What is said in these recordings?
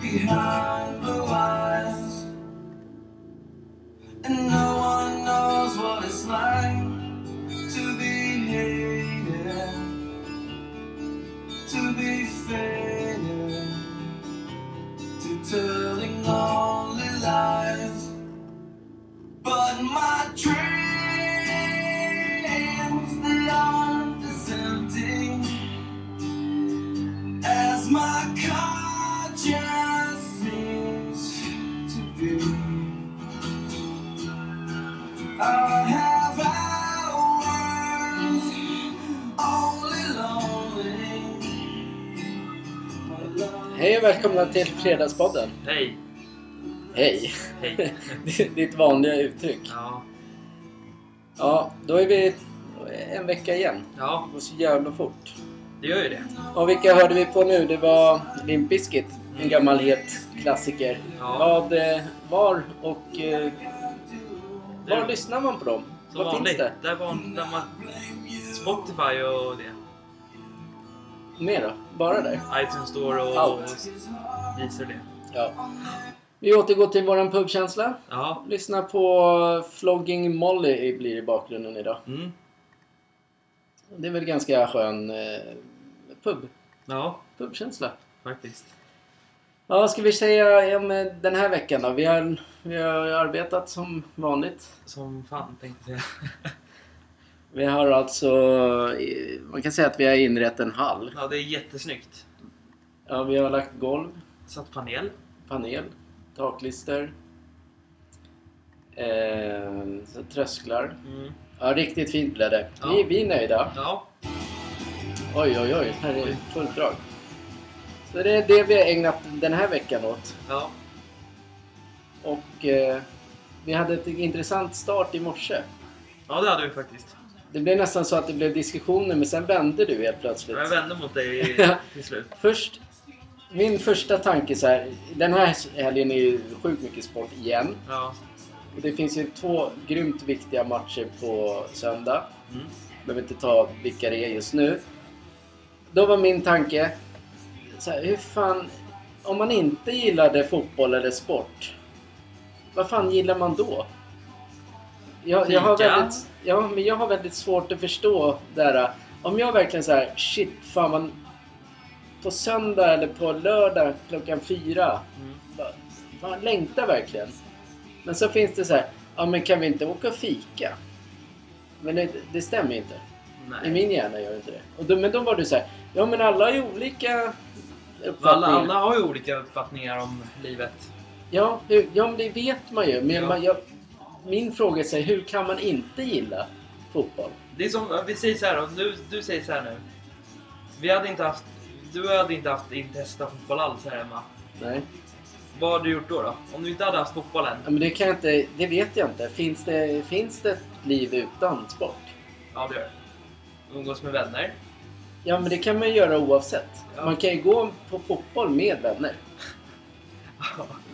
behind blue eyes, and no one knows what it's like to be hated, to be faded, to telling only lies. But my dreams, they aren't as empty. As my conscience seems to be, I have hours only lonely. My love Hej och välkomna till Fredagspodden. Hej! Hej! Hej! Det är Ditt vanliga uttryck. Ja, Ja, då är vi en vecka igen. Det ja, går så jävla fort. det gör ju det. Och vilka hörde vi på nu? Det var Limp Bizkit, en gammal het klassiker. Ja. Vad, eh, var och eh, var Du, lyssnar man på dem? Som Vad finns vanligt. det? Där var där man, Spotify och det. Mer då? Bara där? iTunes Store och, och Allt. visar det. Ja. Vi återgår till våran pubkänsla. Ja. Lyssna på Flogging Molly blir i bakgrunden idag. Mm. Det är väl ganska skön eh, pub, Ja, pubkänsla. faktiskt. Ja, vad ska vi säga om eh, den här veckan då? Vi har, vi har arbetat som vanligt. Som fan tänkte jag säga. Vi har alltså, eh, man kan säga att vi har inrett en hall. Ja, det är jättesnyggt. Ja, vi har lagt golv, Satt panel. panel, taklister, eh, så trösklar. Mm. Ja, riktigt fint blev det. Ja. Vi, vi är nöjda. Ja, Oj, oj, oj, här är fullt drag. Så det är det vi har ägnat den här veckan åt. ja, Och eh, vi hade ett intressant start i morse. ja, det hade vi faktiskt. Det blev nästan så att det blev diskussioner men sen vände du helt plötsligt. Jag vände mot dig Ja. till slut. Först, min första tanke så här. Den här helgen är ju sjukt mycket sport igen. Ja. Och det finns ju två grymt viktiga matcher på söndag. Mm. Behöver inte ta vilka det är just nu. Då var min tanke. Så här, hur fan. Om man inte gillade fotboll eller sport. Vad fan gillar man då? Jag, jag, har, Fika. väldigt, ja, men jag har väldigt svårt att förstå det här. Om jag verkligen så här, shit fan man, på söndag eller på lördag klockan fyra. Mm. va- Man längtar verkligen. Men så finns det så här, ja men kan vi inte åka och fika? Men det, det stämmer ju inte. I Nej. min hjärna gör det inte det. Och då, men då var du så här, ja men alla är ju olika Alla, uppfattningar. alla har ju olika uppfattningar om livet. Ja, hur, ja, men det vet man ju. Men Ja. man, jag, min fråga är så här, hur kan man inte gilla fotboll? Det är som, vi säger så här då, du, du säger så här nu. Vi hade inte haft, du hade inte haft intresse av fotboll alls här hemma. Nej. Vad hade du gjort då? då? Om du inte hade haft fotbollen? Ja, men det kan jag inte, det vet jag inte. Finns det, finns det ett liv utan sport? Ja, det gör du. Umgås med vänner? Ja, men det kan man ju göra oavsett. Ja. Man kan ju gå på fotboll med vänner.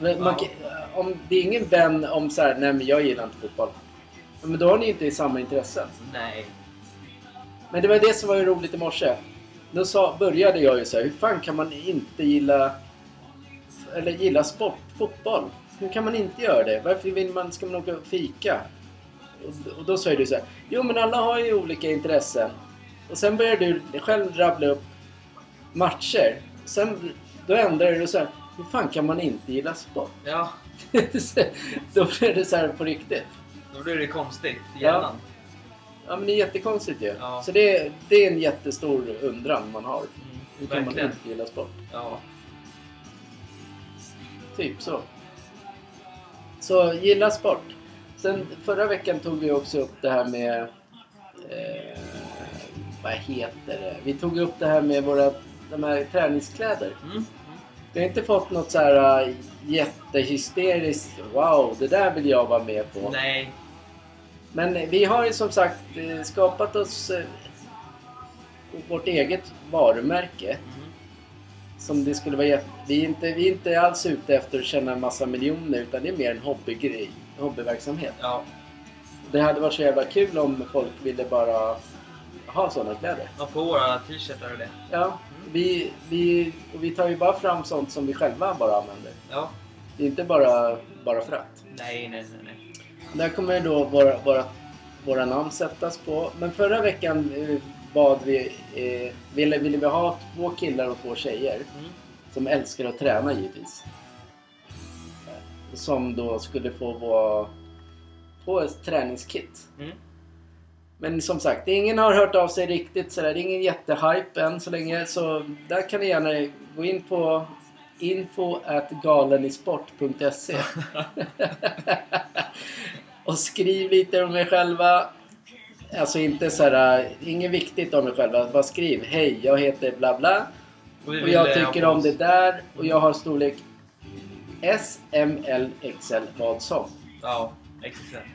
Men man Ja. kan, om, det är ingen vän om så här, nej men jag gillar inte fotboll. Ja, Men då har ni ju inte samma intressen. Nej. Men det var det som var ju roligt i morse. Då sa, började jag ju så här, hur fan kan man inte gilla eller gilla sport, fotboll? Hur kan man inte göra det? Varför vill man, ska man åka och fika? Och, och då sa ju du så här, jo men alla har ju olika intressen. Och sen började du själv rabbla upp matcher. Sen, då ändrade du så här, hur fan kan man inte gilla sport? Ja, då blev det så här på riktigt. då blir det konstigt i hjärnan. Ja men det är jättekonstigt ju. Ja. Så det, det är en jättestor undran man har. Hur Mm, kan man verkligen. inte gilla sport? Ja. Typ så. Så gilla sport. Sen förra veckan tog vi också upp det här med... Eh, vad heter det? Vi tog upp det här med våra de här träningskläder. Mm. Mm. Vi har inte fått något så här eh, jättehysteriskt Wow, det där vill jag vara med på. Nej. Men vi har ju som sagt eh, skapat oss eh, vårt eget varumärke. Mm. Som det skulle vara jätte... vi, är inte, vi är inte alls ute efter att tjäna en massa miljoner utan det är mer en hobbygrej, hobbyverksamhet. Ja. Det hade varit så jävla kul om folk ville bara ha sådana kläder. Och på våra t-shirtar och det. Ja, Mm. vi, vi, och vi tar ju bara fram sånt som vi själva bara använder. Ja. Det är inte bara, bara för att. Nej, nej, nej. nej. Där kommer ju då våra, våra, våra namn sättas på. Men förra veckan eh, bad vi, eh, ville, ville vi ha två killar och två tjejer Mm. som älskar att träna givetvis. Eh, Som då skulle få vara på ett träningskit. Mm. Men som sagt, ingen har hört av sig riktigt sådär. Det är ingen jättehype än så länge. Så där kan ni gärna gå in på info at galenisport.se Och skriv lite om er själva. Alltså inte såhär, inget viktigt om er själva. Bara skriv Hej, jag heter bla bla. vi Och vill, jag eh, tycker ha om oss- det där. Och jag har storlek S, M, L, XL, vad som. Ja, exakt.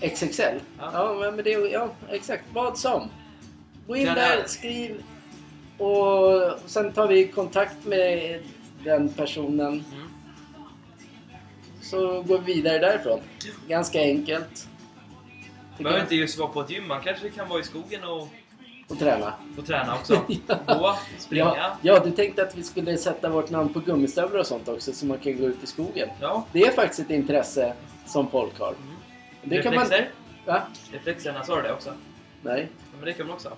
XXL? Ja. Ja, men- men det, ja exakt. Vad som. Gå in Den där, här. skriv och sen tar vi kontakt med den personen Mm. så går vi vidare därifrån. Ganska enkelt. Tycker Behöver jag. inte just vara på ett gym, man kanske kan vara i skogen och, Och träna. och träna också. Gå, springa. Ja, ja, du tänkte att vi skulle sätta vårt namn på gummistövlar och sånt också så man kan gå ut i skogen. Ja. Det är faktiskt ett intresse som folk har. Mm. Det kan man... Reflexer? Va? Reflexerna, sa du det också? Nej. Ja, men det kan man också ha.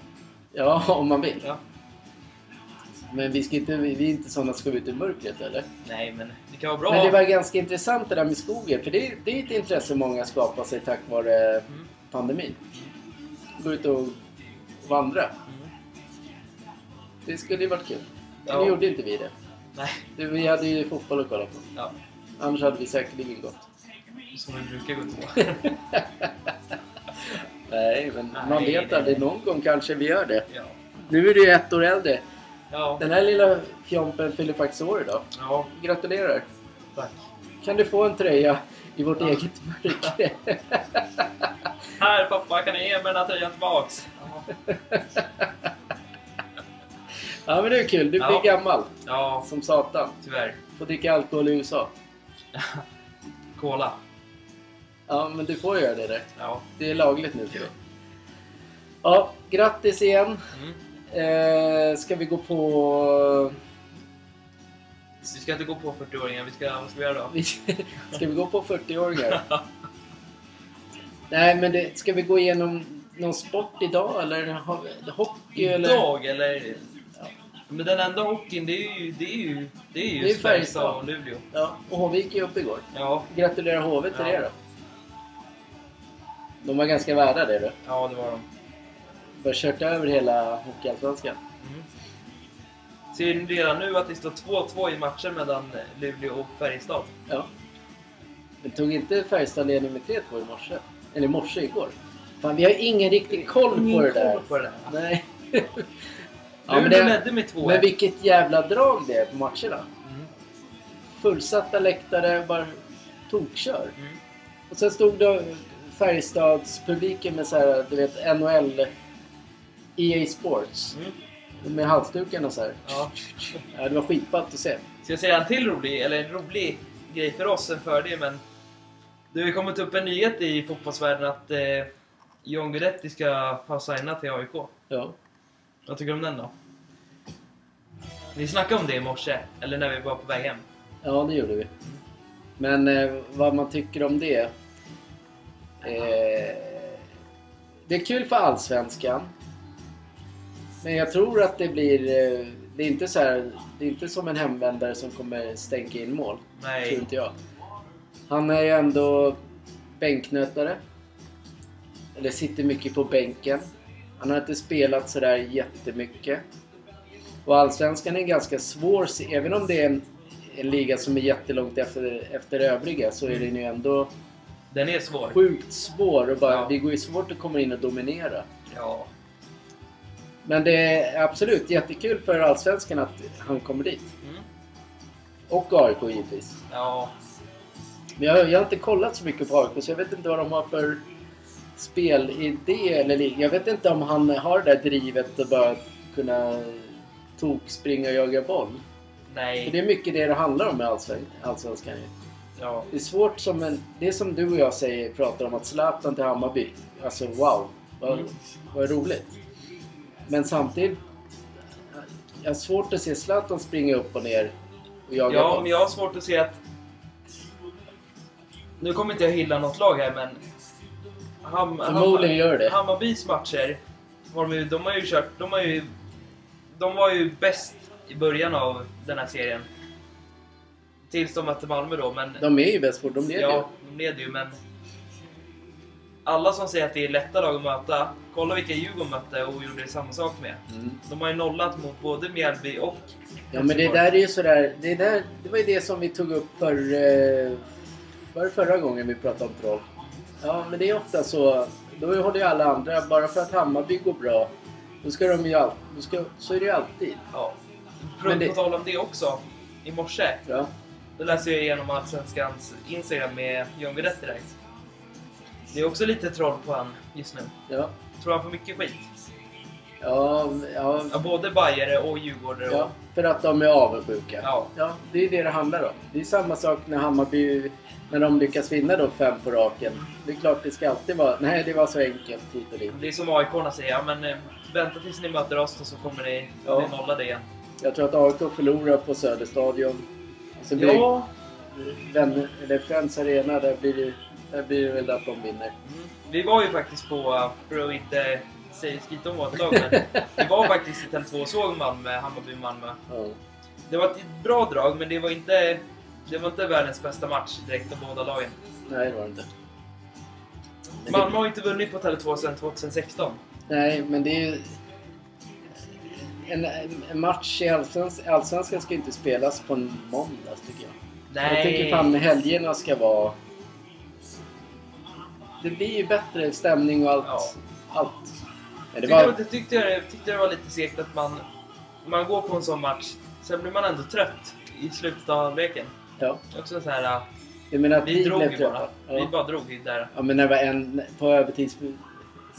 Ja, om man vill. Ja. Men vi, ska inte, vi vi är inte sådana som ska ut i mörkret eller? Nej, men det kan vara bra. Men det var ganska intressant det där med skogen. För det är, det är ett intresse många skapar sig tack vare Mm. pandemin. Gå ut och vandra. Mm. Det skulle ju varit kul. Men Ja. Nu gjorde inte vi det. Nej, Du, Vi hade ju fotboll att kolla på. ja. Annars hade vi säkerligen gått. Som vi brukar gå på. Nej, men man Nej, vet det- aldrig. Någon gång kanske vi gör det. ja. Nu är du ju ett år äldre. Ja. Den här lilla fjompen fyller faktiskt år idag. ja, Gratulerar! tack. Kan du få en tröja i vårt Ja. eget märke? Här pappa, kan du ge mig den här tröjan tillbaks? Ja. ja, men det är kul. Du blir Ja. gammal. ja, Som satan. tyvärr. Får dricka alkohol i USA. Cola. Ja, men du får göra det där. Ja. Det är lagligt nu för dig. Ja, grattis igen. Mm. Eh, ska vi gå på... Vi ska inte gå på 40-åringar, vi ska, vad ska vi göra då? ska vi gå på 40-åringar? Nej, men det, ska vi gå igenom någon sport idag eller har vi- hockey eller? Idag eller? Ja. Men den enda hockeyn, det är ju, det är ju, det är ju Det är Färjestad. Färjestad och Luleå. Ja, och HV gick ju upp igår. Ja, Gratulerar HV till Ja. det då. De var ganska värda det då. ja det var de. De har kört över hela Hockeyallsvenskan. Mm. Ser ni redan nu att det står 2-2 i matchen mellan Luleå och Färjestad? Ja. Men tog inte Färjestad ledning med 3-2 i morse? Eller i morse igår? Fan, vi har ingen riktig koll på det där. På det där. Nej. ja, Luleå men, det, ledde med 2-1. men vilket jävla drag det är på matcherna. Mm. Fullsatta läktare, bara tokkör. Mm. Och sen stod då Färjestadspubliken med så här, du vet, NHL, EA E Sports. Mm. Med halsdukarna så här. Ja. Ja, det var skitballt att se. Ska jag säga en till rolig, eller en rolig grej för oss, en fördel, men... Det har ju kommit upp en nyhet i fotbollsvärlden att eh, John Guidetti ska ha signat till AIK. Ja. Vad tycker du om den då? Vi snackade om det i morse, eller när vi var på väg hem. Ja, det gjorde vi. Men eh, vad man tycker om det... Eh, det är kul för allsvenskan. Men jag tror att det blir... Eh, det, är inte så här, det är inte som en hemvändare som kommer stänka in mål. Tror Nej. inte jag. Han är ju ändå bänknötare. Eller sitter mycket på bänken. Han har inte spelat sådär jättemycket. Och Allsvenskan är ganska svår, se- även om det är en, en liga som är jättelångt efter, efter övriga så är den ju ändå Den är svår. sjukt svår och bara, Ja. det går ju svårt att komma in och dominera. Ja. Men det är absolut jättekul för Allsvenskan att han kommer dit. Mm. Och AIK givetvis. Ja. Men jag, jag har inte kollat så mycket på AIK så jag vet inte vad de har för spelidé eller lig- Jag vet inte om han har det där drivet att bara kunna tokspringa och jaga boll. För det Nej. är mycket det det handlar om med allsven- Allsvenskan. ju. Ja. Det är svårt som en... Det är som du och jag säger, pratar om att Zlatan till Hammarby. Alltså wow, vad, Mm. vad roligt. Men samtidigt... jag har svårt att se Zlatan springa upp och ner och jaga Ja, boll. men jag har svårt att se att... Nu kommer inte jag hylla något lag här, men... Ham, Förmodligen gör det. Hammarbys matcher, har de, ju- de har ju kört... De, har ju, de var ju bäst i början av den här serien. Tills de mötte Malmö då, men... De är ju bäst på de leder ja, de leder ju, men... Alla som säger att det är lätta lag att möta, kolla vilka Djurgården mötte och gjorde samma sak med. ju. Mm. De har ju nollat mot både Mjällby och Ja men det Helsingborg. där är ju sådär, det, där, det var ju det som vi tog upp för, eh, var det förra gången vi pratade om troll. Ja men det är ofta så, då håller ju alla andra, bara för att Hammarby går bra, då ska de ju alltid, då ska, så är det ju alltid. Ja. Men På, det- på tal om det också. I morse, Ja. då läste jag igenom Allsvenskans Instagram med John Guidetti direkt. Det är också lite troll på han just nu. Ja. Tror han får mycket skit. Ja, ja, Ja, både bajare och djurgårdare. ja, Och, för att de är avundsjuka. ja. Ja, det är det det handlar om. Det är samma sak när Hammarby, när de lyckas vinna då fem på raken. Det är klart det ska alltid vara, nej det var så enkelt hit och dit. Det är som AIK-arna säger, ja, men eh, vänta tills ni möter oss och så kommer ni, Ja. ni nolla det igen. Jag tror att AIK förlorar på Söderstadion. Och så blir Ja. Vän, eller Friends Arena, där blir, det, där blir det väl att de vinner. Mm. Vi var ju faktiskt på, eh, för att inte säga skit om vårt lag, men vi var faktiskt i Tele2 och såg Malmö, Hammarby-Malmö. Ja. Det var ett bra drag, men det var inte, det var inte världens bästa match direkt av båda lagen. Nej, det var det inte. Men det- Malmö har inte vunnit på Tele2 sedan 2016. Nej, men det är ju... En, en match i Allsvens- Allsvenskan ska inte spelas på en måndag, tycker jag. Jag tycker fan helgerna ska vara... Det blir ju bättre stämning och allt. Ja. allt. Men det Tyckte jag var... tyckte, jag, tyckte jag det var lite segt att man, man går på en sån match, sen blir man ändå trött i slutet av halvleken. Ja. Också så här, äh, Jag menar att vi drog blev ju trötta. bara. Vi Ja. bara drog ju där. ja, men när det var en... På övertids...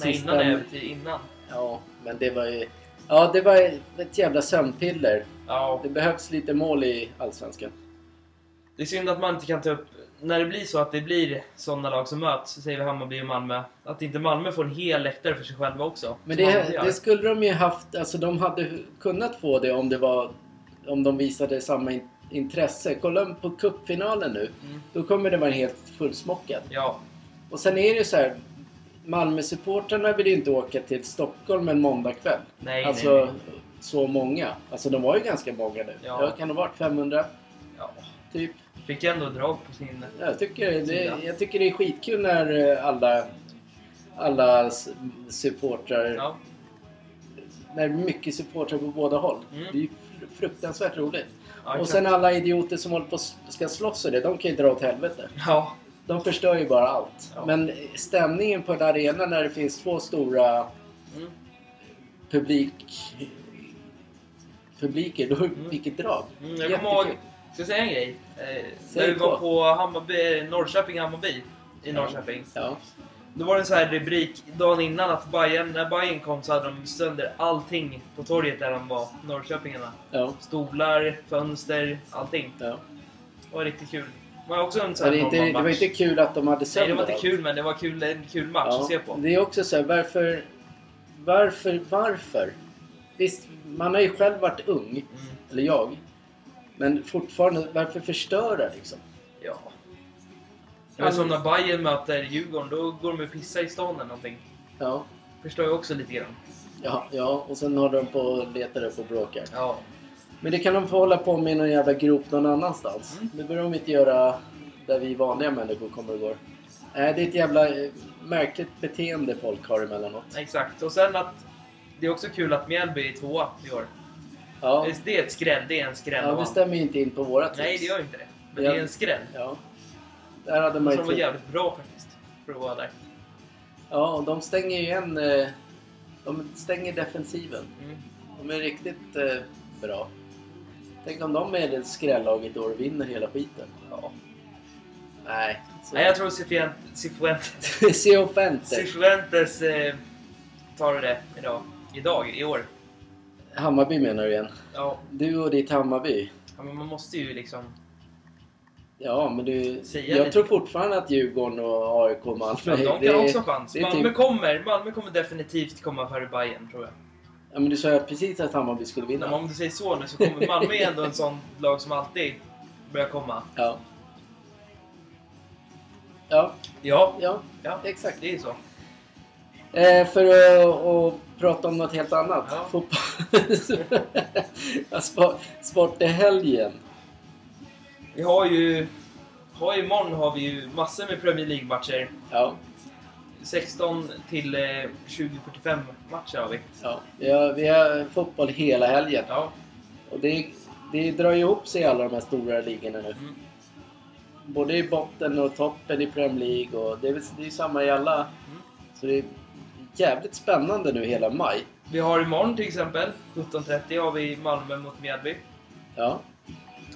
Nej, innan övertid, innan. Ja, men det var ju... Ja, det var ett jävla sömnpiller. Ja, Det behövs lite mål i Allsvenskan. det är synd att man inte kan ta upp, när det blir så att det blir sådana lag som möts, så säger vi Hammarby och Malmö, att inte Malmö får en hel läktare för sig själva också. Men Som det, Hammarby gör. det skulle de ju haft... Alltså de hade kunnat få det om det var... Om de visade samma in, intresse. Kolla på cupfinalen nu. Mm. Då kommer det vara helt fullsmockad. Ja, Och sen är det ju så här... Malmö-supportrarna vill ju inte åka till Stockholm en måndagkväll. nej, Alltså nej, nej. så många. Alltså de var ju ganska många nu. Ja. Ja. Kan det ha varit 500? Ja. Typ. Fick ändå drag på sin... Ja, Jag tycker, det, Sida. jag tycker det är skitkul när eh, alla, alla s- supportrar... Ja. När det är mycket supportrar på båda håll. Mm. Det är ju fr- fruktansvärt roligt. Ja, och exakt. sen alla idioter som håller på och s- ska slåss och det, de kan ju dra åt helvete. Ja, De förstör ju bara allt. Ja. Men stämningen på en arena när det finns två stora mm. publik... Publiker, då, vilket drag! Mm, jag kommer ihåg... Jättekul. Ska jag säga en grej? Eh, Säg när vi var två. på Hammarby, eh, Norrköping-Hammarby i Norrköping. Ja. Då var det en sån här rubrik dagen innan att Bayern, när Bayern kom så hade de sönder allting på torget där de var, Norrköpingarna. Ja. Stolar, fönster, allting. ja. Det var riktigt kul. Det var också en Så sån det, här är inte, normal det match. var inte kul att de hade Nej, sönder det var allt. inte kul men det var kul, en kul match Ja, att se på. Det är också så här, varför, varför, varför? Visst, man har ju själv varit ung, Mm, eller jag. Men fortfarande, varför förstöra liksom? ja. Det var Ja, som men- när Bayern möter Djurgården, då går de och pissar i stan eller någonting. Ja, Förstår ju också lite grann. ja, ja. och sen håller de på och letar upp och bråkar. Ja. Men det kan de få hålla på med i någon jävla grop någon annanstans. Mm. Det behöver de inte göra där vi vanliga människor kommer och går. Nej, det är ett jävla eh, märkligt beteende folk har emellanåt. Exakt. Och sen att... Det är också kul att Mjällby är tvåa i år. Ja, Det- Det är ett skräll. Det är en skräll. ja av det allt. stämmer ju inte in på våra tips. Nej, det gör inte det. Men Ja. det är en skräll. Ja. Där hade man ju Som var trott- jävligt bra faktiskt. För att vara där. Ja, och de stänger ju en... eh, De stänger defensiven. Mm. De är riktigt eh, bra. Tänk om de är det skrällaget och vinner hela skiten. Ja. Nej. Så. Nej, jag tror Cifuent- Cifuentes, Se offentligt. Cifuentes eh, tar det idag. Idag, i år. Hammarby menar du igen. Ja, Du och ditt Hammarby. ja, men man måste ju liksom... Ja, men du... Säga jag lite. tror fortfarande att Djurgården och AIK och Malmö... Men de det kan är- också ha chans. det är Malmö typ- kommer. Malmö kommer definitivt komma före Bayern tror jag. Ja, men du sa ju precis att Hammarby skulle Men vinna. om du säger så nu så kommer Malmö är ändå en sån lag som alltid börjar komma. Ja. Ja, Ja, ja, ja exakt. det är så. Eh, för att att prata om något helt annat. Ja. Fotboll. Ja, sport, sport i helgen. Vi har ju... Har ju imorgon har vi ju massor med Premier League-matcher. Ja, 16 till eh, 20.45 matcher har vi. ja. Vi, har, vi har fotboll hela helgen. Ja. Och det, det drar ju ihop sig i alla de här stora ligorna nu. Mm. Både i botten och toppen i Premier League. Och det, är, väl- det är ju samma i alla. Mm. Så det är jävligt spännande nu hela maj. Vi har imorgon till exempel 17.30 har vi Malmö mot Mjällby. Ja,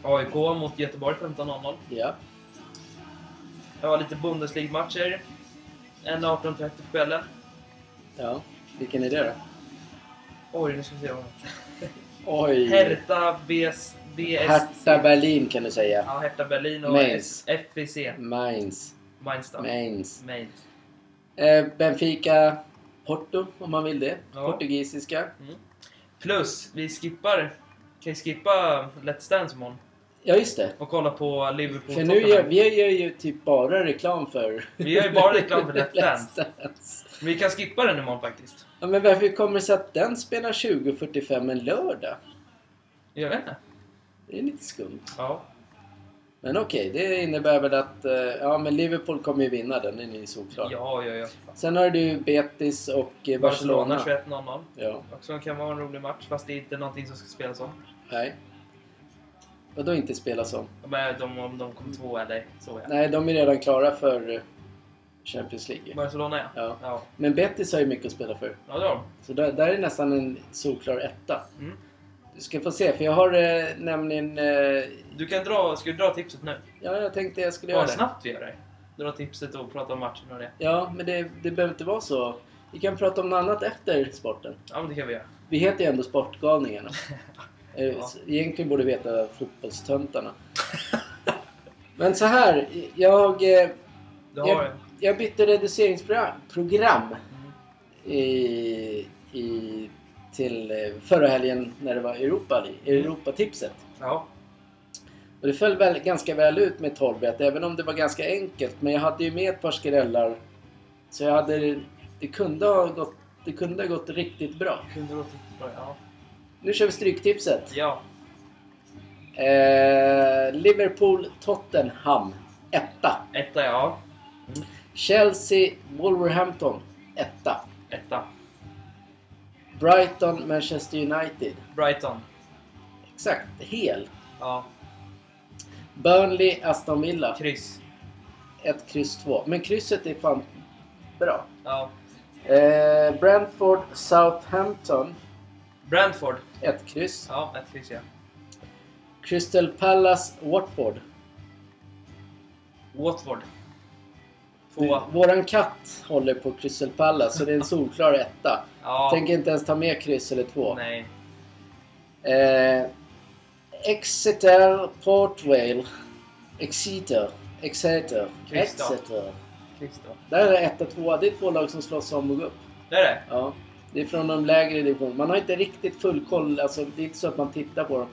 AIK mot Göteborg 15.00. ja. Jag har lite Bundesliga-matcher. En 18.30 på kvällen. Ja, vilken är det då? Oj, nu ska vi se vad Oj! Hertha BS... BS... Hertha Berlin kan du säga. Ja, Hertha Berlin och Mainz. FBC. Mainz. Mainz då. Mainz. Mainz. Eh, Benfica Porto om man vill det. Ja. Portugisiska. Mm. Plus, vi skippar... Kan ju skippa Let's Dance imorgon. Ja, just det. Och kolla på Liverpool För nu gör, Tottenham. vi gör ju typ bara reklam för... Vi gör ju bara reklam för Let's Dance. Dance. Vi kan skippa den imorgon faktiskt. Ja, men varför kommer det sig att den spelar 20.45 en lördag? Jag vet inte. Det är lite skumt. Ja. Men okej, det innebär väl att... eh, Ja, men Liverpool kommer ju vinna den, den är ju Ja, såklart. ja, ja. Sen har du Betis och eh, Barcelona. Barcelona 21.00. Ja, Också kan vara en rolig match, fast det är inte någonting som ska spelas om. nej. Vadå inte spela som? Men de, om de kom två eller så ja. Nej, de är redan klara för eh, Champions League. Barcelona ja. Ja. Ja, Men Betis har ju mycket att spela för. ja det har de. Så där, där är nästan en solklar etta. Mm. Du ska få se, för jag har eh, nämligen... Eh, Du kan dra, ska du dra tipset nu? ja, jag tänkte jag skulle göra Vad det. snabbt vi gör det. Dra tipset och prata om matchen och det. Ja, men det, det behöver inte vara så. Vi kan prata om något annat efter sporten. Ja men det kan vi göra. Vi heter ju ändå Sportgalningarna. Eh, Ja. så Egentligen borde vi heta Fotbollstöntarna. men så här, jag... Eh, Du har Ja. det. jag bytte reduceringsprogram program Mm. i, i, till eh, förra helgen när det var Europa, Europatipset. Ja. Och det föll väl, ganska väl ut med 12 rätt, även om det var ganska enkelt. Men jag hade ju med ett par skrällar. Så jag hade, det, kunde ha gått, det kunde ha gått riktigt bra. Kunde du ha tipset bra? Ja. Nu kör vi stryktipset. Ja. Eh, Liverpool-Tottenham, etta. Etta ja. Chelsea-Wolverhampton, etta. Etta. Brighton-Manchester United, Brighton. Exakt, hel. Ja. Burnley, Aston Villa. Kryss. Ett kryss två. Men krysset är fan bra. Ja. Eh, Brentford, Southampton. Brentford. Ett kryss. Ja, ett kryss ja. Crystal Palace, Watford. Watford. Tvåa. Våran katt håller på Crystal Palace, så det är en solklar etta. Ja. Tänker inte ens ta med kryss eller två. Nej. Eh, Exeter, Port Vale. Exeter. Exeter. Kryss då. Exeter. Kryss då. Där är det etta, tvåa. Det är två lag som slåss om att gå upp. Det är det. Ja, det är från de lägre divisionerna. Man har inte riktigt full koll. Alltså, det är inte så att man tittar på dem.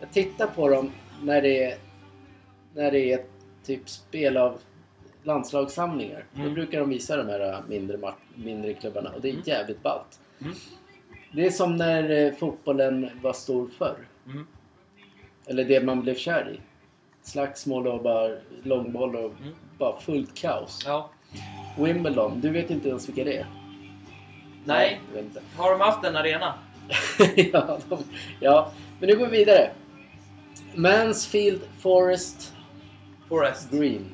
Jag tittar på dem när det är, när det är typ spel av landslagssamlingar. Då Mm. brukar de visa de här äh, mindre, ma- mindre klubbarna och det är Mm. jävligt ballt. Mm. Det är som när eh, fotbollen var stor förr. Mm. Eller det man blev kär i. Slagsmål och bara långboll och Mm. bara fullt kaos. Ja. Wimbledon, du vet inte ens vilka det är? Nej. jag vet inte. Har de haft en arena? ja, de, ja, men nu går vi vidare. Mansfield Forest Forest. Green.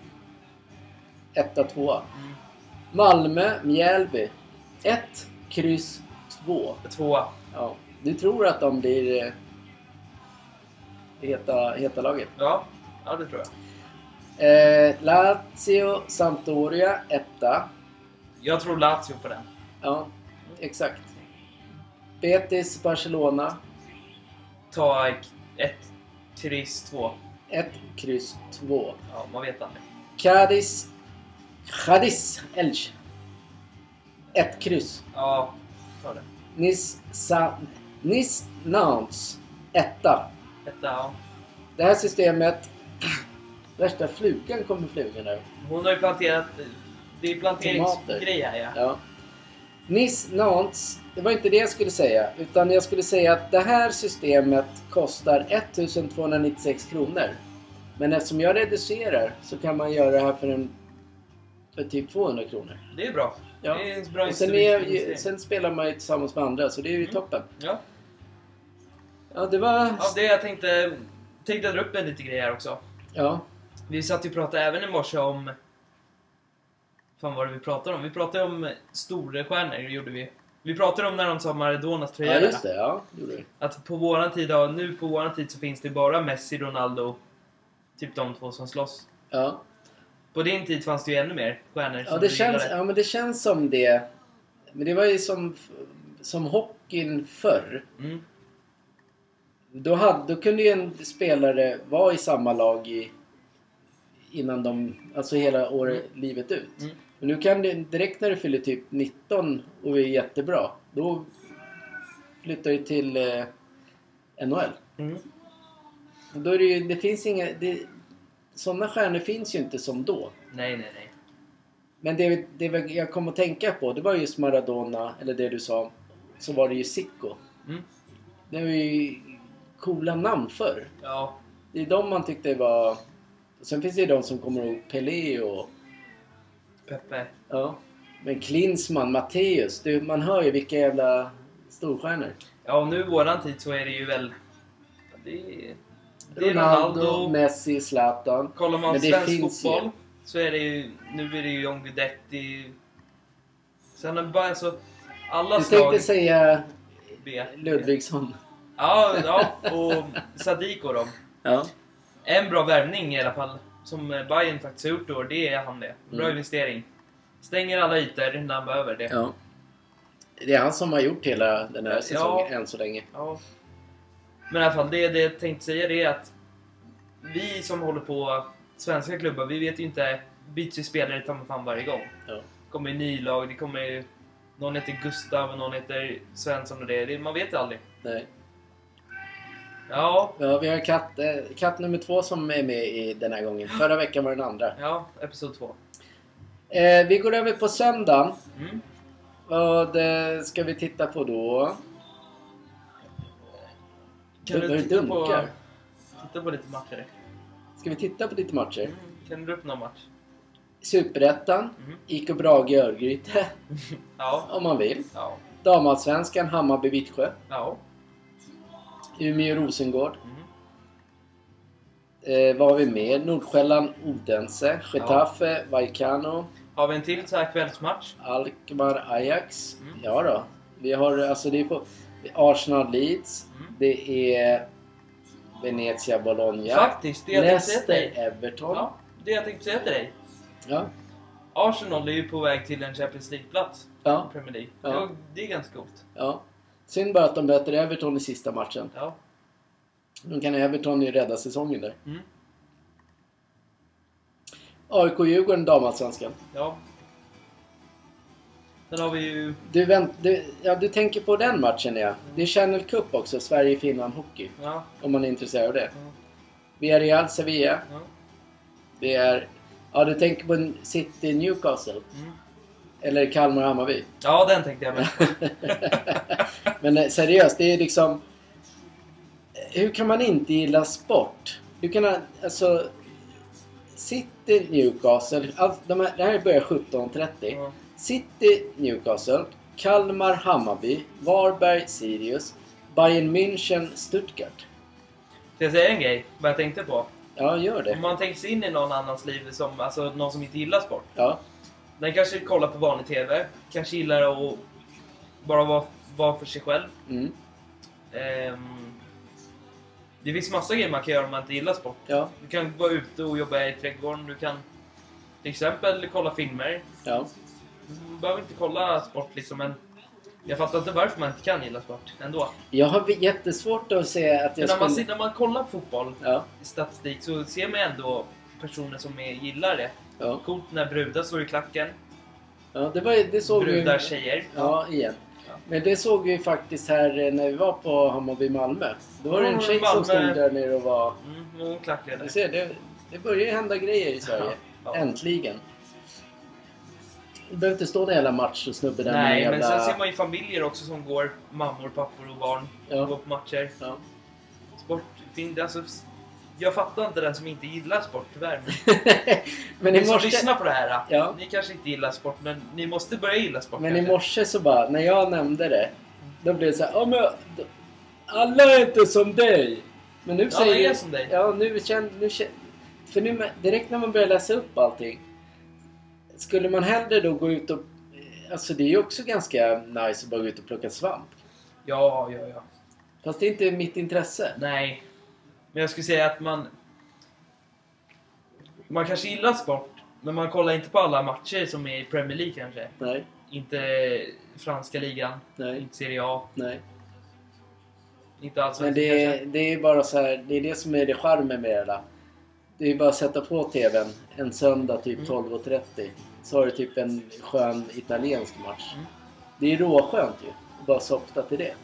Etta, tvåa. Mm. Malmö, Mjällby. 1, kryss 2. Tvåa. Ja, du tror att de blir eh, heta, heta laget. Ja. Ja, det tror jag. Eh, Lazio, Sampdoria, etta. Jag tror Lazio på den. Ja, exakt. Betis, Barcelona. Ta ett, kryss, två. 1, kryss 2. Ja, man vet aldrig. Cadiz. Cadiz. Elche. Ett kryss. Ja, ta det. Nice, Sa- nice Nantes etta. Etta, ja. Det här systemet... Värsta flugan kommer fluga nu. Hon har ju planterat... Det är planteringsgrej Tomater. här ja. Ja. Nice Nantes, det var inte det jag skulle säga. Utan jag skulle säga att det här systemet kostar 1296 kronor. Men eftersom jag reducerar så kan man göra det här för en... För typ 200 kronor. Det är bra. Ja. Det är en bra Och sen, är, ju- sen spelar man ju tillsammans med andra så det är ju Mm. toppen. Ja. Ja, det var... ja, det jag tänkte... Tänkte dra upp en liten grej här också. Ja. Vi satt ju och pratade även i morse om... Fan vad var det vi pratade om? Vi pratade om storstjärnor, gjorde vi. Vi pratade om när de sa Maradonas tröja. ja, där. just det. Ja, det gjorde det. Att på våran tid, ja, nu på våran tid så finns det bara Messi, Ronaldo, typ de två som slåss. Ja. På din tid fanns det ju ännu mer stjärnor Ja, som det du känns, gillade. ja, men det känns som det. Men det var ju som, som hockeyn förr. Mm. Då, hade, då kunde ju en spelare vara i samma lag i, innan de, alltså hela året, livet ut. Mm. Men nu kan du, direkt när du fyller typ 19 och är jättebra, då flyttar du till eh, NHL. Mm. Och Då är det ju, det finns inga, det, sådana stjärnor finns ju inte som då. Nej, nej, nej. Men det, det jag kom att tänka på, det var just Maradona, eller det du sa, så var det ju Sicko. Mm. Det var ju coola namn förr. Ja, Det är de man tyckte var... Sen finns det ju de som kommer ihåg Pelé och... Peppe. Ja. Men Klinsmann, Matteus. Du, man hör ju vilka jävla storstjärnor. Ja, och nu i våran tid så är det ju väl... ja, Det är, det är Ronaldo, Ronaldo. Messi, Zlatan. Kollar man Men det svensk finns fotboll ju. så är det ju... Nu är det ju John Guidetti. Sen är det bara alltså... Alla Du slag... tänkte säga B. Ludvigsson. Ja, ja, och Sadiko då. Ja. En bra värvning i alla fall, som Bayern faktiskt har gjort i år, det är han det. Bra Mm. investering. Stänger alla ytor när han behöver det. ja. Det är han som har gjort hela den här Ja. säsongen än så länge. Ja. Men i alla fall, det, det jag tänkte säga det är att vi som håller på svenska klubbar, vi vet ju inte, byts ju spelare ta mig fan varje gång. Ja. Det kommer ju nylag, det kommer ju... Någon heter Gustav och någon heter Svensson och det. det man vet ju aldrig. Nej. Ja, Ja, vi har katt, eh, katt nummer två som är med i den här gången. Förra veckan var den andra. ja, episod två. Eh, vi går över på söndagen. Mm. Vad eh, ska vi titta på då? Kan Det- det du titta på, dunkar. titta på lite matcher? Ska vi titta på lite matcher? Mm. Kan du dra upp någon match? Superettan, Mm. IK Brage Örgryte, Ja. om man vill. Ja. Damallsvenskan, Hammarby Vittsjö, Ja. Umeå Rosengård. Mm. Eh, vad har vi mer? Nordsjälland, Odense, Getafe, Vaikano, Har vi en till så här kvällsmatch? Alkmaar, Ajax. Mm. Ja då. Vi har alltså det är på det är Arsenal, Leeds. Mm. Det är Venezia, Bologna. Faktiskt, det jag tänkte säga till Leicester, dig. Everton. Ja, det jag tänkte säga till dig. Ja. Arsenal är ju på väg till en Champions League-plats ja. i Premier League. Ja. Ja. Det är ganska coolt. Ja. Synd bara att de möter Everton i sista matchen. Ja. Då kan Everton ju rädda säsongen där. Mm. AIK-Djurgården, damallsvenskan. ja. Sen har vi ju... Du, vänt, du, ja, du tänker på den matchen ja. Det är Channel Cup också, Sverige-Finland hockey. Ja. Om man är intresserad av det. Ja. Villarreal, Sevilla. ja. Det är... Ja, du tänker på en City Newcastle. Mm. Eller Kalmar-Hammarby. ja, den tänkte jag med. Men eh, seriöst, det är liksom... Hur kan man inte gilla sport? Du kan ha- alltså... City, Newcastle. Allt, de här, det här börjar 17.30. Ja. City, Newcastle. Kalmar, Hammarby. Varberg, Sirius. Bayern München, Stuttgart. Ska jag säga en grej? Vad jag tänkte på? Ja, gör Om det. man tänker sig in i någon annans liv, som, alltså någon som inte gillar sport. Ja, Den kanske kollar på vanlig TV. Kanske gillar att bara vara, vara för sig själv. mm, Ehm, det finns massa grejer man kan göra om man inte gillar sport. ja, Du kan vara ute och jobba i trädgården. Du kan till exempel kolla filmer. ja. Du behöver inte kolla sport liksom, men jag fattar inte varför man inte kan gilla sport ändå. Jag har jättesvårt att säga att Men jag när man, skulle... ser- när man kollar fotboll Ja, i statistik så ser man ändå personer som är, gillar det. ja, Coolt när brudar står i klacken. ja. Det, var, ju- det såg vi ju... Brudar, tjejer. Ja, igen. Ja. Ja. Men det såg vi ju faktiskt här eh, när vi var på Hammarby Malmö. Då var det en Ja, tjej som Malmö. stod där nere och var... Mm, men hon klackade. Du ser, det, det börjar ju hända grejer i Sverige. Ja. Äntligen. Det behöver inte stå en jävla matchsnubbe där med en Nej, jävla... men sen ser man ju familjer också som går, mammor, pappor och barn, Ja. går på matcher. Ja. Sport, fin- alltså, jag fattar inte den som inte gillar sport tyvärr. Men men ni i som morse... lyssnar på det här, äh, Ja. ni kanske inte gillar sport men ni måste börja gilla sport Men i kanske. morse så bara, när jag nämnde det, då blev det så här, ja men d- alla är inte som dig. Men nu Ja, säger... jag är som dig. Ja, nu känner... Nu kän- för nu, med- direkt när man börjar läsa upp allting, skulle man hellre då gå ut och... Alltså det är ju också ganska nice att bara gå ut och plocka svamp. Ja, ja, ja. Fast det är inte mitt intresse. Nej. Men jag skulle säga att man... Man kanske gillar sport, men man kollar inte på alla matcher som är i Premier League kanske. Nej, Inte franska ligan, nej, inte Serie A, nej. inte alls Men det är, det är bara så här, det är det som är det charmen med det hela. Det är bara att sätta på TVn en söndag typ Mm. 12.30. Så har du typ en skön italiensk match. Mm. Det är råskönt ju. att Bara softa till det.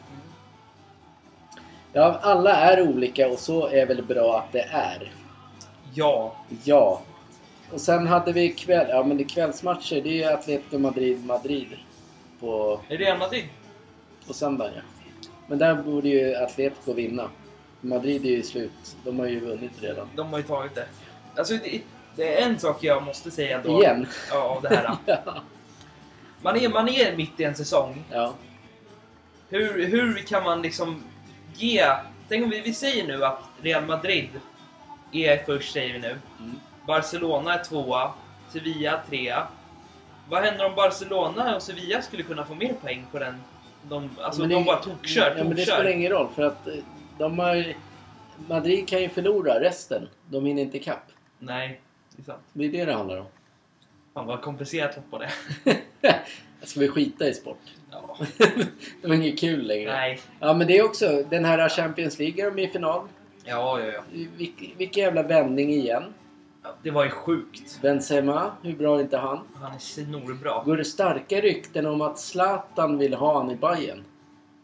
Ja, alla är olika och så är väl bra att det är. Ja. Ja. Och sen hade vi kväll, ja men det är kvällsmatcher. Det är ju Atletico Madrid-Madrid på, Är det Real Madrid? på söndagen ja. Men där borde ju Atletico vinna. Madrid är ju slut. De har ju vunnit redan. De har ju tagit det. Alltså, det, det är en sak jag måste säga då. Igen. Ja, av det här. Man är, man är mitt i en säsong. Ja. Hur, hur kan man liksom ge... Tänk om vi, vi säger nu att Real Madrid är först, säger vi nu. Mm. Barcelona är tvåa, Sevilla trea. Vad händer om Barcelona och Sevilla skulle kunna få mer poäng på den? De, alltså Men de det- bara tokkör, Ja, men det spelar tokkör. ingen roll för att eh, de har ju- Madrid kan ju förlora resten. De hinner inte ikapp. Nej, det är sant. Det är det det handlar om. Fan vad komplicerat på det. Ska vi skita i sport? Ja, det var inget kul längre. nej. Ja men det är också, den här Champions League är de i final. Ja, ja, ja. Vilk, vilken jävla vändning igen. Ja, Det var ju sjukt. Benzema, hur bra är inte han? Han är snorbra. Går det starka rykten om att Zlatan vill ha han i Bayern?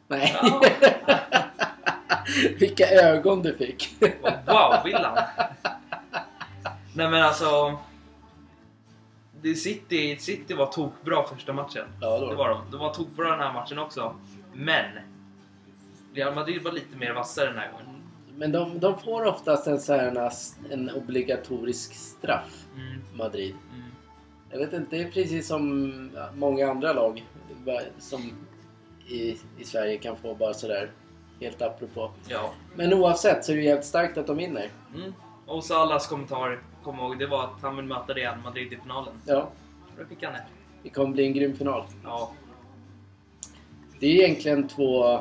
Nej. Ja. Vilka ögon du fick. Wow, vill han? Nej men alltså... Det City, City var tokbra första matchen. Ja, det var det var de. De var tokbra den här matchen också. Men! Real Madrid var lite mer vassare den här gången. Men de, de får oftast en, så här, en obligatorisk straff, Mm, Madrid. mm. Jag vet inte, det är precis som många andra lag som i, i Sverige kan få bara sådär helt apropå. Ja. Men oavsett så är det jävligt starkt att de vinner. Mm. Och Salas kommentar, kom ihåg, det var att han vill möta Real Madrid i finalen. Ja, Då fick han det. det kommer bli en grym final. Ja. Det är egentligen två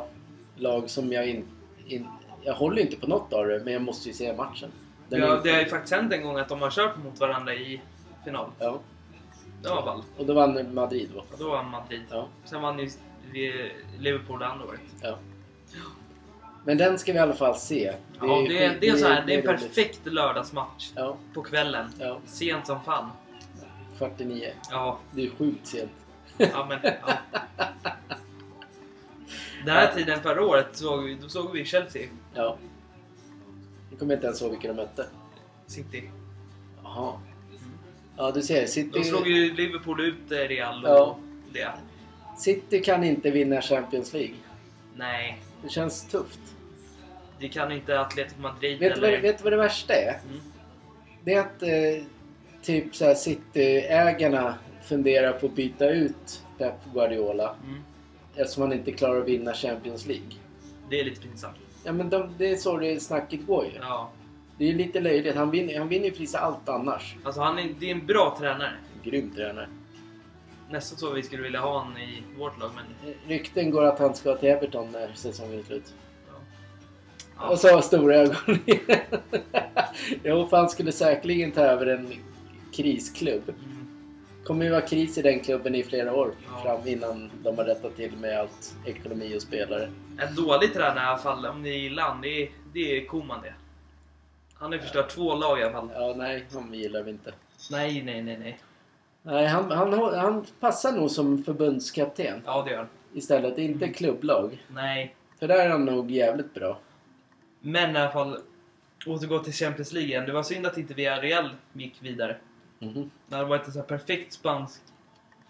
lag som jag in, in, Jag håller inte på något av det, men jag måste ju se matchen. Den Det har, är- det har ju faktiskt hänt en gång att de har kört mot varandra i final. ja. Det var ballt. Och då vann Madrid då. Då vann Madrid. Ja. Sen vann ju Liverpool det andra året. Ja. Men den ska vi i alla fall se. Ja, det är, det är, så här, det är en roligt. perfekt lördagsmatch Ja, på kvällen. ja. Sent som fan. Kvart i nio. Ja, Det är sjukt sent. ja men... Ja. Den här tiden förra året såg, vi- då såg vi Chelsea Ja. Nu kommer jag inte ens ihåg vilka de mötte. City. Jaha. Ja, du ser. Då slog City, ju Liverpool ut eh, Real och Ja. det. City kan inte vinna Champions League. Nej, Det känns tufft. det kan inte Atletico Madrid Vet du, vad, eller... vet du vad det värsta är? Mm. Det är att eh, typ så här City-ägarna funderar på att byta ut Pep Guardiola Mm. eftersom han inte klarar att vinna Champions League. Det är lite pinsamt. Ja, men de, det är så det snacket går ju. Ja. Det är ju lite löjligt. Han vinner, han vinner ju precis allt annars. Alltså han är, det är en bra tränare. Grym tränare. Nästan så vi skulle vilja ha honom i vårt lag, men... Eh, Rykten går att han ska till Everton när säsongen är slut. Ja. Och så har stora ögon igen. Jo, för han skulle säkerligen ta över en krisklubb. Mm. kommer ju vara kris i den klubben i flera år Ja. fram innan de har rättat till med allt ekonomi och spelare. En dålig tränare i alla fall, om ni gillar han, det är, det är Koman det. Han har ju förstört två lag i alla fall. Ja, nej, de gillar vi inte. Nej, nej, nej, nej. Nej, han, han, hå- han passar nog som förbundskapten Ja, det gör han. istället. Inte klubblag. Nej. För där är han nog jävligt bra. Men i alla fall, återgå till Champions League igen. Det var synd att inte Villarreal gick vidare. Mhm. Det hade varit en sån här perfekt spansk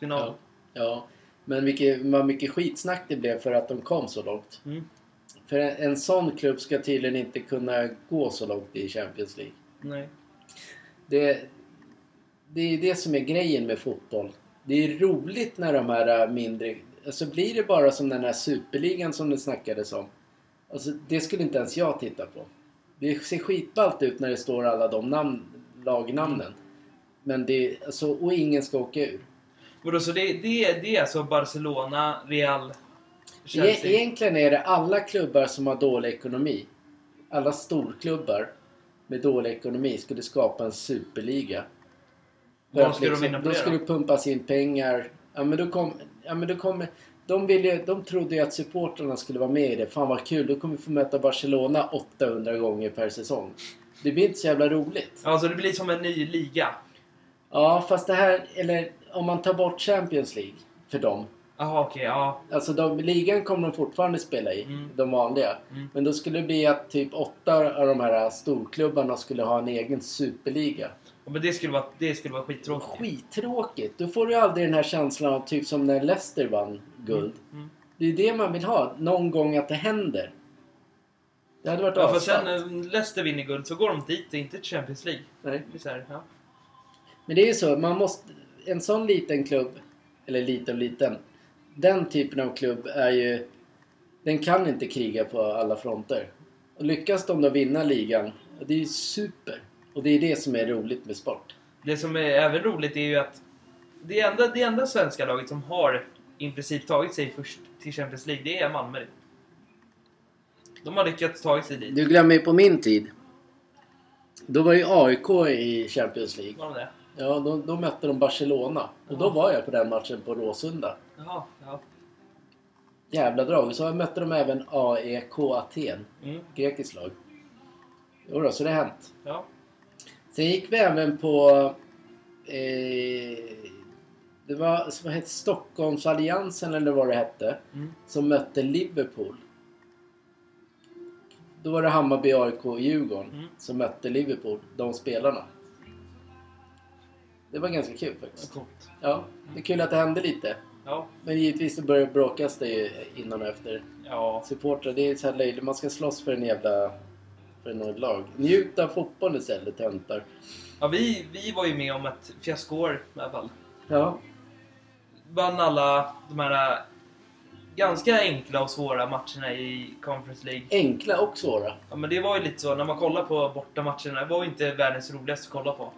final. Ja. ja. Men vilket, vad mycket skitsnack det blev för att de kom så långt. Mm. För en, en sån klubb ska tydligen inte kunna gå så långt i Champions League. Nej. Det, det är ju det som är grejen med fotboll. Det är roligt när de här äh, mindre... Alltså blir det bara som den här superligan som det snackades om. Alltså det skulle inte ens jag titta på. Det ser skitballt ut när det står alla de namn, lagnamnen. Men det är... Alltså, och ingen ska åka ur. Vadå, så det, det, det är alltså Barcelona, Real, E- Chelsea? egentligen är det alla klubbar som har dålig ekonomi. Alla storklubbar med dålig ekonomi skulle skapa en superliga. För Vad att skulle de vinna på då det då? skulle pumpas in pengar. Ja men då kom, ja, men då kom, de, ville, de trodde ju att supportrarna skulle vara med i det. Fan vad kul, då kommer vi få möta Barcelona 800 gånger per säsong. Det blir inte så jävla roligt. Ja, så det blir som en ny liga? Ja fast det här, eller om man tar bort Champions League för dem. Jaha, okej. ja. Alltså de, ligan kommer de fortfarande spela i, Mm. de vanliga. Mm. Men då skulle det bli att typ åtta av de här storklubbarna skulle ha en egen superliga. Ja, Men det skulle vara, det skulle vara skittråkigt. Skittråkigt! Då får du aldrig den här känslan av typ som när Leicester vann guld. Mm. Det är det man vill ha, någon gång att det händer. Det hade varit Ja, för asfalt. sen eh, när Leicester vinner guld så går de dit, inte till Champions League. Nej. Det är så här, ja. Men det är ju så, man måste... En sån liten klubb, eller liten och liten, den typen av klubb är ju... Den kan inte kriga på alla fronter. Och lyckas de då vinna ligan, ja, det är ju super. Och det är det som är roligt med sport. Det som är även roligt är ju att det enda, det enda svenska laget som har i princip tagit sig först till Champions League, det är Malmö. De har lyckats ta sig dit. Du glömmer ju på min tid. Då var ju AIK i Champions League. Var de det? Ja, då, då mötte de Barcelona. Och då Ja. var jag på den matchen på Råsunda. Jaha, ja. Jävla drag. Så mötte de även AEK Aten, Mm, grekiskt lag. Jodå, så det har hänt. ja. Sen gick vi även på... Eh, det var vad hette, Stockholmsalliansen eller vad det hette. Mm. Som mötte Liverpool. Då var det Hammarby, AIK och Djurgården Mm. som mötte Liverpool. De spelarna. Det var ganska kul faktiskt. Coolt. Ja, det är kul att det hände lite. Ja. Men givetvis så börjar bråkas det ju innan och efter. Ja. Supportrar, det är så här löjligt. Man ska slåss för en jävla... För något lag. Njut av fotbollen istället, töntar. ja vi, vi var ju med om ett fiaskoår i alla fall. Ja. Vann alla de här ganska enkla och svåra matcherna i Conference League. Enkla och svåra. Ja, men det var ju lite så när man kollar på bortamatcherna. Det var ju inte världens roligaste att kolla på.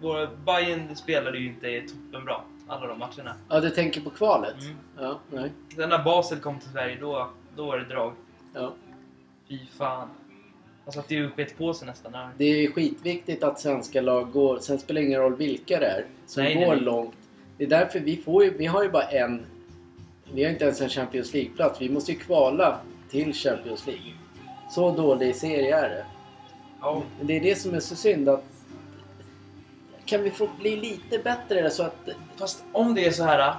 Våra Bayern spelade ju inte toppenbra, alla de matcherna. Ja, du tänker på kvalet? Mm. Ja, nej. Sen när Basel kom till Sverige, då, då var det drag. Ja. Fy fan. Han satte ju upp ett på sig nästan. Där. Det är skitviktigt att svenska lag går, sen spelar det ingen roll vilka det är, som Nej, nej, går nej. långt. Det är därför vi får ju, vi har ju bara en, vi har inte ens en Champions League-plats. Vi måste ju kvala till Champions League. Så dålig serie är det. Ja. Men det är det som är så synd att kan vi få bli lite bättre så att... Fast om det är så här.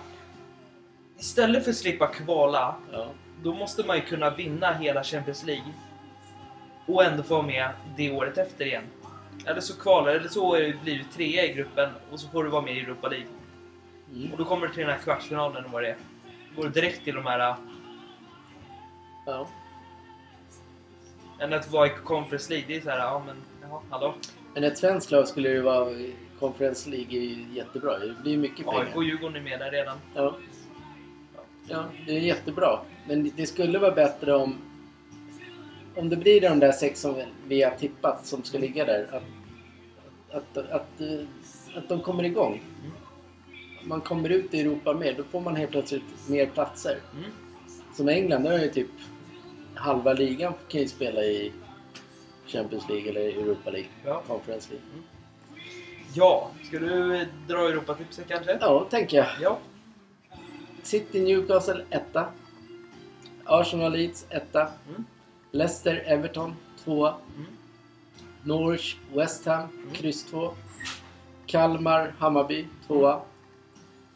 Istället för att slippa kvala, Ja. då måste man ju kunna vinna hela Champions League. Och ändå få vara med det året efter igen. Eller så kvalar eller så är- blir du trea i gruppen och så får du vara med i Europa League. Mm. Och då kommer du till den här kvartsfinalen och vad det är. Går du direkt till de här... ja. äh, Än att vara i Conference League, det är så här, ja men, jaha, hallå? Men ett svenskt lag skulle ju vara... Conference League är ju jättebra. Det blir ju mycket pengar. AIK och Djurgården är med där redan. Ja. ja, det är jättebra. Men det skulle vara bättre om... Om det blir de där sex som vi har tippat som ska ligga där. Att, att, att, att, eh, att de kommer igång. Man kommer ut i Europa mer. Då får man helt plötsligt mer platser. Mm. Som England, där är ju typ halva ligan kan ju spela i Champions League eller Europa League. Ja. Conference League. ja, ska du eh, dra Europatipset kanske? Ja, tänker jag. Ja. City Newcastle 1. Arsenal Leeds 1. Mm. Leicester Everton 2. Mm. Norwich West Ham Mm. kryss 2. Kalmar Hammarby 2.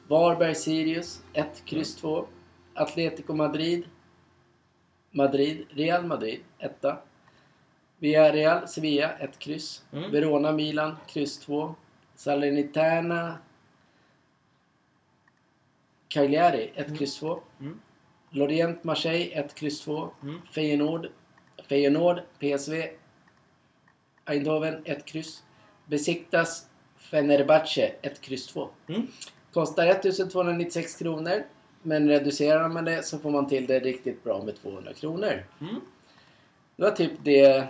Varberg-Sirius 1, kryss 2. Atletico Madrid. Madrid. Real Madrid 1. Villarreal, Sevilla 1, kryss. Mm. Verona-Milan, kryss 2. Salernitana. Cagliari 1, kryss 2. Mm. Lorient, Marseille 1, kryss 2. Mm. Feyenoord, Feyenoord, PSV, Eindhoven 1, kryss. Besiktas, Fenerbahce 1, kryss 2. Mm. Kostar 1296 kronor. Men reducerar man det så får man till det riktigt bra med 200 kronor. Mm. Det var typ det...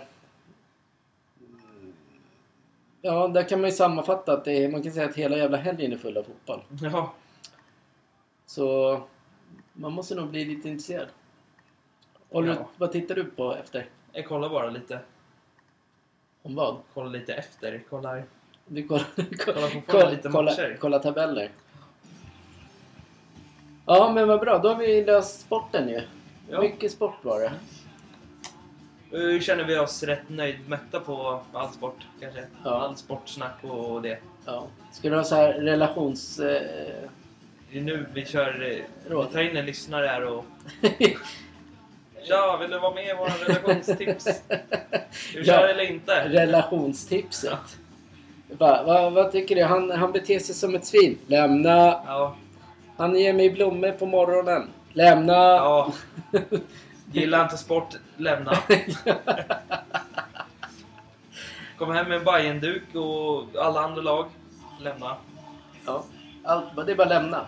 Ja, där kan man ju sammanfatta att det är, man kan säga att hela jävla helgen är full av fotboll. Ja, Så man måste nog bli lite intresserad. Håller du, Ja. Vad tittar du på efter? jag kollar bara lite. Om vad? Kollar lite efter. Kollar. Du kollar, Kolla kolla, på kolla, lite kolla, matcher. kolla tabeller. Ja, men vad bra. Då har vi löst sporten ju. Ja. Mycket sport var det. Eh, Känner vi oss rätt nöjdmätta på all sport kanske? Ja. All sportsnack och det. Ja. Ska du ha så här relations... Eh, Det är nu vi kör... eh, Vi Råd. tar in en lyssnare här och... Ja, vill du vara med i våra relationstips? Ska Ja. vi köra eller inte? relationstipset? Va, va, vad tycker du? Han, han beter sig som ett svin. Lämna! Ja. Han ger mig blommor på morgonen. Lämna! ja. Gillar inte sport, lämna. Kom hem med en Bayern-duk och alla andra lag, lämna. Ja. Allt, det är bara lämna.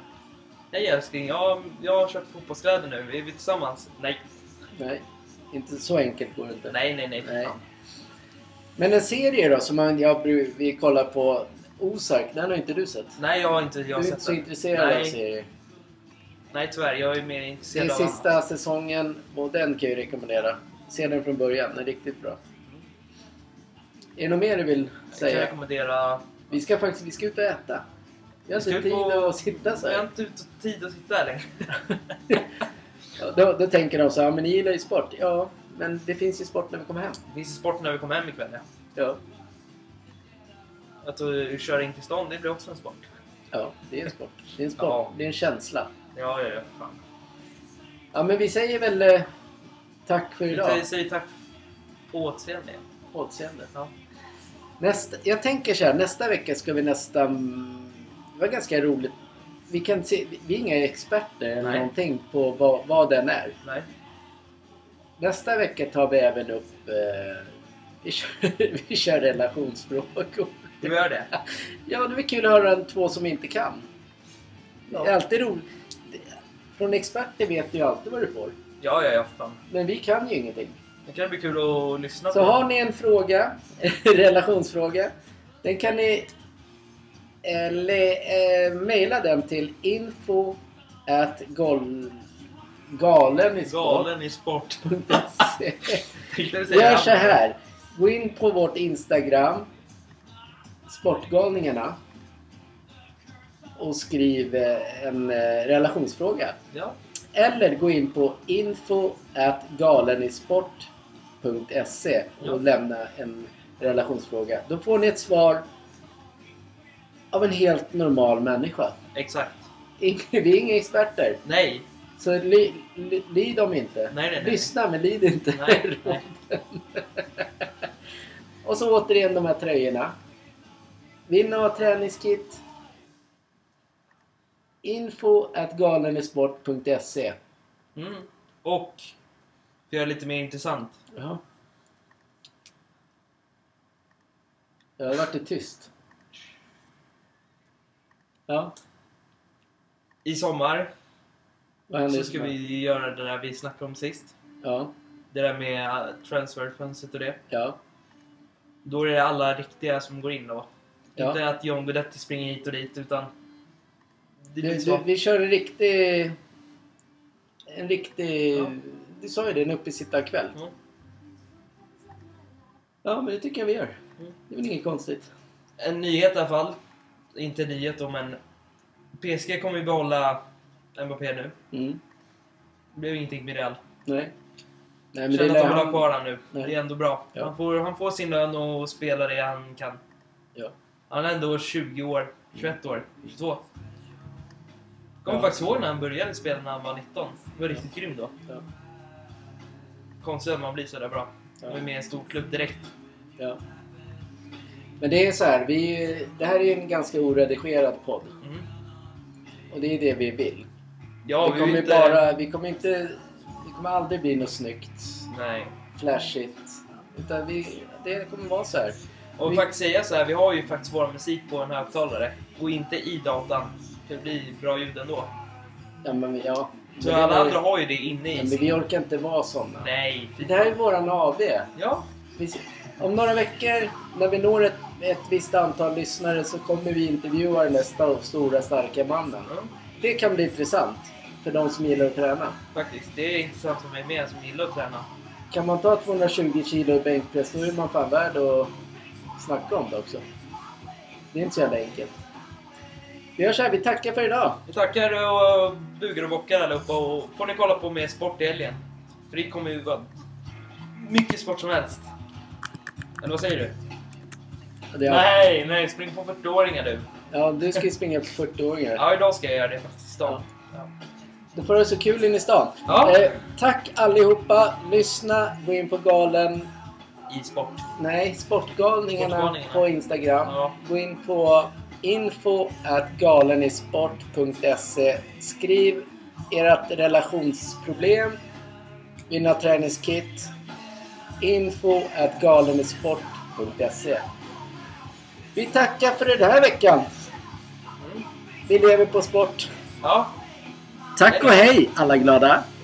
Hej älskling, jag, jag har köpt fotbollskläder nu. Är vi tillsammans? Nej. Nej, inte så enkelt går det inte. Nej, nej, nej. för Nej. fan. Men en serie då som man, jag, bru- vi kollar på Ozark, den har inte du sett? Nej, jag har inte jag Du har är sett inte så den. intresserad av nej, serier. nej, tyvärr. Jag är mer Det intresserad är av annat. sista säsongen och den kan jag ju rekommendera. Se den från början, den är riktigt bra. Är det något mer du vill Jag kan säga? rekommendera... Vi ska faktiskt vi ska ut och äta. Vi har Vi ska inte ut tid och- att sitta så Jag har här. inte ut- tid att sitta här längre. Ja, Då, då tänker de så här, men ni gillar ju sport. Ja, men det finns ju sport när vi kommer hem. Det finns ju sport när vi kommer hem ikväll. Ja. Ja, Att uh, köra in till stan, det blir också en sport. ja det är en sport. Det är en sport. Ja. Det är en känsla. Ja, ja, ja. Fan. Ja, men vi säger väl eh, tack för Vi idag. tar- säger tack på återseende. På återseende. Ja. Nästa, jag tänker så här, nästa vecka ska vi nästan... Det var ganska roligt. Vi, kan se, vi är inga experter eller Nej. någonting på vad, vad den är. Nej. Nästa vecka tar vi även upp... Eh, vi, kör, vi kör relationsfrågor. Du gör det? Ja, det är kul att höra en två som inte kan. Det är alltid roligt. Det- Från experter vet du ju alltid vad du får. Ja, ja, ja. Fan. Men vi kan ju ingenting. Det kan bli kul att lyssna Så på. har ni en fråga, relationsfråga, den kan ni eh, le- eh, mejla den till info at gol- Galen i sport. galenisport.se. Tänkte du säga Gör annat? så här, gå in på vårt Instagram, Sportgalningarna, och skriv eh, en eh, relationsfråga. Ja. Eller gå in på info at galenisport.se och Ja. lämna en relationsfråga. Då får ni ett svar av en helt normal människa. Exakt. Ing- Vi är inga experter, Nej. så li, li, lid dem inte. Nej, nej, nej. Lyssna, men lid inte. Nej. nej. och så återigen de här tröjorna. Vill ni ha träningskit? Info at galenisport.se Mm. Och för att göra det lite mer intressant. Jaha. Jag har varit det tyst. Ja, I sommar vad händer? så ska vi göra det där vi snackade om sist. Ja, Det där med eh, transferfönstret och det. ja, Då är det alla riktiga som går in då. ja. Inte att John Guidetti springer hit och dit utan... Du, Det blir du, så. vi kör en riktig... En riktig... Ja. Du sa ju det, en uppesittarkväll. Mm. Ja, men det tycker jag vi gör. Mm. Det är väl inget konstigt. En nyhet i alla fall. Inte en nyhet då men... PSG kommer ju behålla Mbappé nu. Mm. Det blev ingenting med Real. Nej. Nej, Känner att lär de vill han- ha kvar han nu. Nej. Det är ändå bra. Ja. Han, får, han får sin lön och spelar det han kan. Ja. Han är ändå 20 år. 21 år. 22. Kommer Ja. faktiskt ihåg när han började spela när han var 19. Det var riktigt grym då. Ja. Konstigt att man blir sådär bra. Ja. Och är med i en stor klubb direkt. Ja. Men det är så här, vi, det här är en ganska oredigerad podd. Mm. Och det är det vi vill. Ja, vi vi kommer vill ju inte... bara, vi kommer inte, det kommer aldrig bli något snyggt, Nej. flashigt. Utan vi, det kommer vara så här. Och Vi- faktiskt säga så här, vi har ju faktiskt vår musik på en högtalare. Gå inte i datan. Det blir bra ljud ändå. Ja, men, ja. Så Men det alla var- andra har ju det inne i ja, men sig. vi orkar inte vara sådana. Nej, fy Det här är fan. våran AV. Ja, Vi, om några veckor, när vi når ett, ett visst antal lyssnare så kommer vi intervjua den där sta- stora starka mannen. ja, Det kan bli intressant för de som gillar att träna. faktiskt. Det är intressant för mig med som gillar att träna. Kan man ta 220 kilo i bänkpress då är man fan värd att snacka om det också. Det är inte så jävla enkelt. Vi gör så här, vi tackar för idag. Vi tackar och bugar och bockar allihopa och får ni kolla på mer sport i helgen. För det kommer ju vara mycket sport som helst. Eller vad säger du? Det är- Nej, nej, spring på 40-åringar du. Ja, du ska ju springa på 40-åringar. Ja, idag ska jag göra det faktiskt. i Stan. Ja. Då får du så kul in i stan. Ja. Eh, tack allihopa. Lyssna, gå in på galen. I sport. Nej, Sportgalningarna, Sportgalningarna. på Instagram. Ja. Gå in på info galenisport.se. Skriv ert relationsproblem, dina träningskit. Info galenisport.se. Vi tackar för den här veckan. Mm. Vi lever på sport. Ja. Tack och hej alla glada!